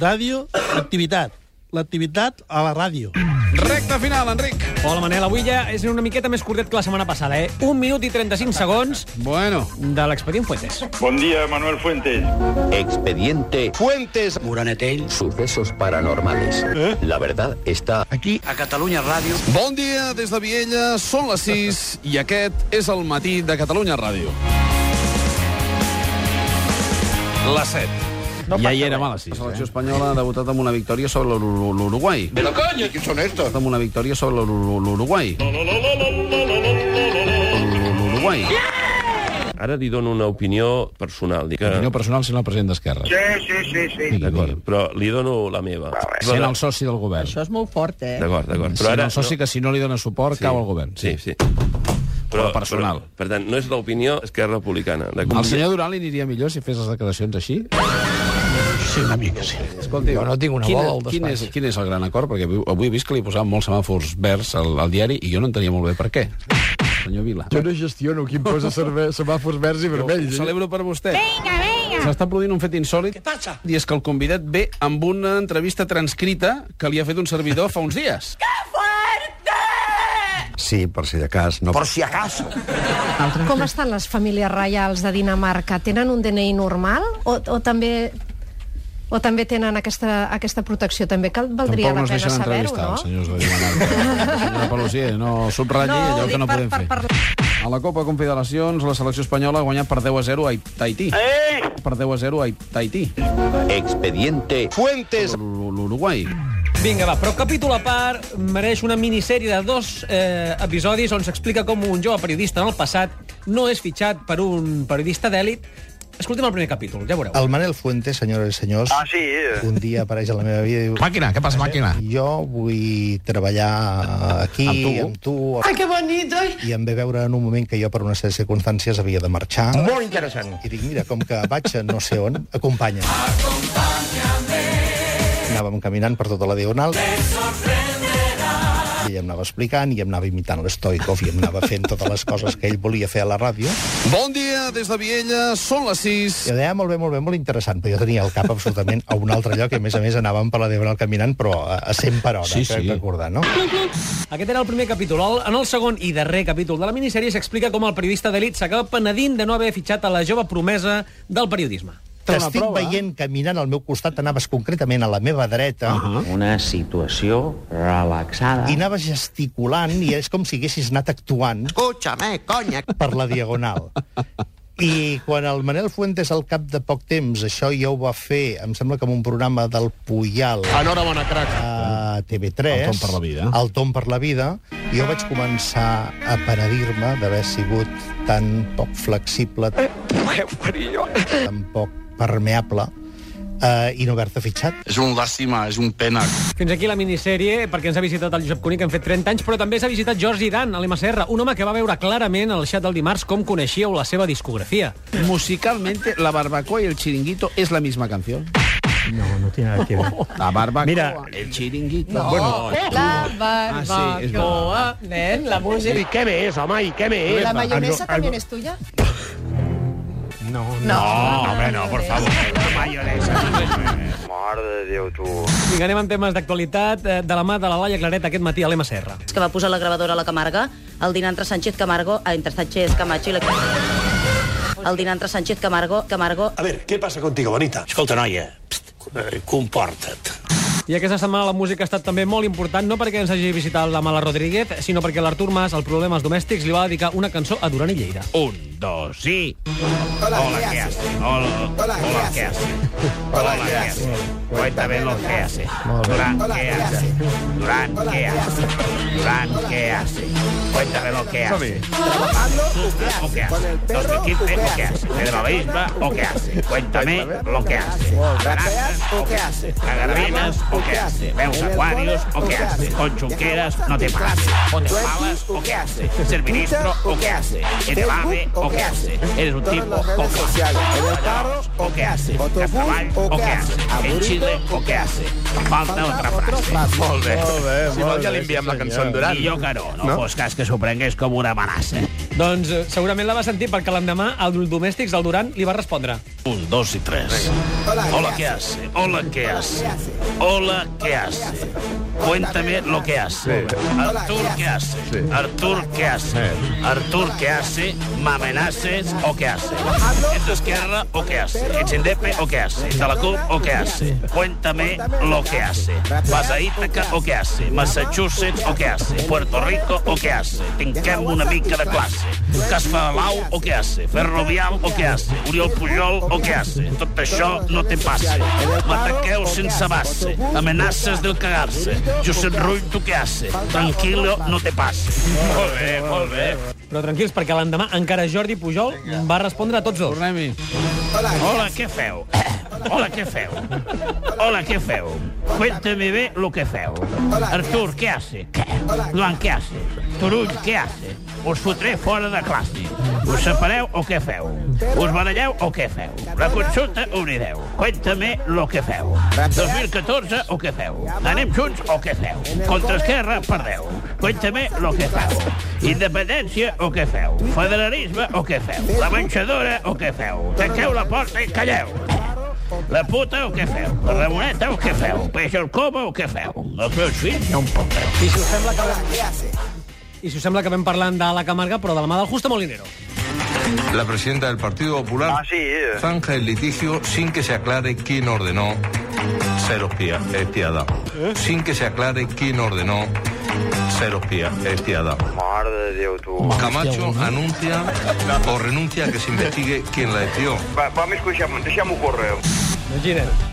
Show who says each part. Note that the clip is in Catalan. Speaker 1: ràdio, activitat. L'activitat a la ràdio.
Speaker 2: Recte final, Enric.
Speaker 3: Hola, Manel. Avui ja és una miqueta més curtet que la setmana passada, eh? Un minut i 35 segons
Speaker 2: Bueno,
Speaker 3: de l'expedient Fuentes.
Speaker 4: Buen día, Manuel Fuentes.
Speaker 5: Expediente
Speaker 2: Fuentes.
Speaker 5: Moranetell. Sucesos paranormales.
Speaker 6: ¿Eh?
Speaker 5: La verdad está aquí.
Speaker 2: Bon dia des de Viella, són les 6 i aquest és el matí de Catalunya Ràdio. Les 7. No ja hi érem a les 6.
Speaker 7: La selecció espanyola ha debutat amb una victòria sobre l'Uru- l'Uruguai. De la conya! Qui són estos? Amb una victòria sobre l'Uru- l'Uruguai. L'Uruguai.
Speaker 2: Ah.
Speaker 8: Ara li dono una opinió personal. Dic,
Speaker 2: Opinió personal sent el president d'Esquerra.
Speaker 4: Sí, sí, sí, sí.
Speaker 2: D'acord.
Speaker 8: Però li dono la meva.
Speaker 2: Sent el soci del govern.
Speaker 9: Això és molt fort, eh?
Speaker 8: D'acord, d'acord.
Speaker 2: Sent el soci que si no li dona suport cau al govern.
Speaker 8: Sí, sí.
Speaker 2: Però personal.
Speaker 8: Però, per tant, no és l'opinió Esquerra Republicana. De...
Speaker 2: Al senyor Duran li aniria millor si fes les declaracions així?
Speaker 1: Sí, una mica, sí.
Speaker 2: Escolti,
Speaker 6: Jo no tinc una
Speaker 2: quin,
Speaker 6: bola al
Speaker 2: quin, és,
Speaker 6: despatx.
Speaker 2: quin és el gran acord? Perquè avui, avui he vist que li posaven molts semàfors verds al, al diari i jo no entenia molt bé per què. Senyor Vila.
Speaker 6: Jo no gestiono qui em posa serve- semàfors verds i
Speaker 2: Ho
Speaker 6: vermells. eh?
Speaker 2: celebro per vostè. Vinga, vinga! S'està produint un fet insòlid. Què passa? I és que el convidat ve amb una entrevista transcrita que li ha fet un servidor fa uns dies.
Speaker 6: Sí, per si de cas. No... Per si de cas.
Speaker 10: Com estan les famílies reials de Dinamarca? Tenen un DNI normal o, o també o també tenen aquesta, aquesta protecció? També cal, valdria
Speaker 2: Tampoc no es
Speaker 10: la
Speaker 2: deixen
Speaker 10: pena saber-ho,
Speaker 2: entrevistar,
Speaker 10: no?
Speaker 2: els senyors de Dinamarca. Senyora Pelusier, no subratlli
Speaker 10: No, ho
Speaker 2: allò
Speaker 10: dic
Speaker 2: que no
Speaker 10: per-
Speaker 2: podem
Speaker 10: per- per-
Speaker 2: fer. A la Copa Confederacions, la selecció espanyola ha guanyat per 10 a 0 a Tahití.
Speaker 4: Eh,
Speaker 2: Per 10 a 0 a Tahití.
Speaker 5: Expediente
Speaker 2: L'U- L'Uruguai.
Speaker 3: Vinga, va, però capítol a part mereix una minissèrie de dos eh, episodis on s'explica com un jove periodista en el passat no és fitxat per un periodista d'èlit. Escoltem el primer capítol, ja veureu.
Speaker 6: El Manel Fuentes, senyores i senyors,
Speaker 4: ah, sí, eh.
Speaker 6: un dia apareix a la meva vida i diu
Speaker 2: Màquina, què passa, màquina?
Speaker 6: jo vull treballar aquí, amb tu, amb tu
Speaker 9: Ai, que bonito!
Speaker 6: i em ve veure en un moment que jo per unes certes circumstàncies havia de marxar
Speaker 4: Molt interessant.
Speaker 6: i dic, mira, com que vaig a no sé on, acompanya. Anàvem caminant per tota la diagonal i ell em anava explicant i em anava imitant l'estoicov i em anava fent totes les coses que ell volia fer a la ràdio.
Speaker 2: Bon dia, des de Viella, són les 6.
Speaker 6: Jo deia, "Ah, molt bé, molt bé, molt interessant, però jo tenia el cap absolutament a un altre lloc i, a més a més, anàvem per la Diagonal caminant, però a a 100 per hora, eh,
Speaker 2: Sí,
Speaker 6: crec
Speaker 2: sí.
Speaker 6: recordar, no?
Speaker 3: Aquest era el primer capítol. El- En el segon i darrer capítol de la minissèrie s'explica com el periodista d'elit s'acaba penedint de no haver fitxat a la jove promesa del periodisme.
Speaker 6: T'estic veient caminant al meu costat, anaves concretament a la meva dreta, uh -huh.
Speaker 9: Una situació relaxada.
Speaker 2: Ah.
Speaker 6: i anaves gesticulant, i és com si haguessis anat actuant
Speaker 9: Escúchame, conya!
Speaker 6: per la Diagonal. I quan el Manel Fuentes, al cap de poc temps, això ja ho va fer, em sembla que en un programa del Puyal...
Speaker 2: Enhorabona, crac.
Speaker 6: a
Speaker 2: El
Speaker 6: TV3...
Speaker 2: Tom per la vida.
Speaker 6: El Tom per la vida. Jo vaig començar a penedir-me d'haver sigut tan poc flexible, tan poc permeable, eh, i no haver-te fitxat.
Speaker 7: És un làstima, és un pena.
Speaker 3: Fins aquí la minissèrie, perquè ens ha visitat el Josep Cuní, que han fet 30 anys, però també s'ha visitat Jordi Dan, a l'MSR, un home que va veure clarament al xat del dimarts com coneixíeu la seva discografia.
Speaker 2: Musicalmente, la barbacoa y el chiringuito es la misma canción.
Speaker 1: No, no té nada que ver.
Speaker 2: La barbacoa,
Speaker 1: Mira,
Speaker 2: el chiringuito... No.
Speaker 9: La
Speaker 2: Ah, sí, és
Speaker 9: barbacoa, ah, sí, nen, la música...
Speaker 1: què més, home, i què més?
Speaker 9: La
Speaker 1: mayonesa Algo- también algo-
Speaker 9: es tuya?
Speaker 1: No,
Speaker 9: No,
Speaker 4: Hombre, no, por favor. Mare de Déu, tu.
Speaker 3: Vinga, anem amb temes d'actualitat, eh, de la mà de la Laia Claret aquest matí a l'MSR.
Speaker 9: que va posar la gravadora a la Camarga, el dinar entre Sánchez Camargo, eh, entre Sánchez Camacho i la... El dinar entre Sánchez Camargo, Camargo...
Speaker 4: A ver, què passa contigo, bonita? Escolta, noia, pst, eh, comporta't.
Speaker 3: I aquesta setmana la música ha estat també molt important, no perquè ens hagi visitat la Mala Rodríguez, sinó perquè l'Artur Mas, al Problemes Domèstics, li va dedicar una cançó a Duran i Lleida.
Speaker 2: Un, dos, sí.
Speaker 4: Hola, Hola ¿qué haces? Hola, hola, ¿qué haces? Hola, ¿qué haces? Cuéntame lo que haces. Durán, ¿qué haces? Durán, ¿qué haces? Durán, ¿qué haces? Cuéntame lo que haces. ¿Trabajando o qué haces? ¿2015 o qué haces? ¿Pedro Bisba o qué haces? Cuéntame lo que haces. ¿Rapeas o qué haces? ¿Agarbinas o qué haces? ¿Veus acuarios o qué haces? ¿Con chunqueras no te pases? ¿O te pagas o qué haces? ¿Ser ministro o qué haces? ¿Eres babe o qué haces? ¿Eres un tipo o qué haces? o qué haces? ¿Castraball o qué haces? ¿En Chile o qué haces? Falta otra frase. Molt bé.
Speaker 6: Molt bé, molt bé, sí,
Speaker 4: Millor que no, no, no? fos cas que s'ho prengués com una amenaça.
Speaker 3: Doncs eh, segurament la va sentir perquè l'endemà el domèstics del Duran li va respondre.
Speaker 4: Un, dos y tres. Hola, ¿qué hace? Hola, ¿qué hace? Hola, ¿qué hace? Cuéntame lo que hace. Artur, ¿qué hace? Artur, ¿qué hace? Artur, ¿qué hace? ¿Me amenaces o qué hace? ¿Es de izquierda o qué hace? ¿Es indepe o qué hace? ¿Es de la CUP o qué hace? Cuéntame lo que hace. ¿Vas a Ítaca o qué hace? ¿Massachusetts o qué hace? ¿Puerto Rico o qué hace? Tinguem una mica de classe. Cas Palau o què hace? Ferrovial o què hace? Oriol Pujol o què hace? Tot això no te passa. M'ataqueu sense base. Amenaces del cagar-se. Josep Rull, tu què hace? Tranquilo, no te passa. Molt bé, molt bé.
Speaker 3: Però tranquils, perquè l'endemà encara Jordi Pujol va respondre a tots dos. Tornem-hi.
Speaker 4: Hola, què feu? Hola, què feu? Hola, què feu? Cuéntame bé lo que feu. Artur, què hace? Què? Joan, què hace? Turull, què hace? Us fotré fora de classe. Us separeu o què feu? Us baralleu o què feu? La consulta obrireu. Cuéntame lo que feu. 2014 o què feu? Anem junts o què feu? Contra Esquerra perdeu. Cuéntame lo que feu. Independència o què feu? Federalisme o què feu? La menjadora o què feu? Tanqueu la porta i calleu. La puta o què feu? La Ramoneta o què feu? Peix al cova o què feu? Els meus fills no em porten.
Speaker 3: I si us sembla que... I si us sembla que vam parlant de la Camarga, però de la mà del Justo Molinero.
Speaker 2: La presidenta del Partido Popular zanja el litigio sin que se aclare quién ordenó ser espía, espiada. Sin que se aclare quién ordenó ser espía, espiada.
Speaker 11: Mare de Déu, tu.
Speaker 2: Camacho anuncia o renuncia a que se investigue quién la espió.
Speaker 11: Va, va més que deixem, deixem-ho córrer.
Speaker 3: Imagina't.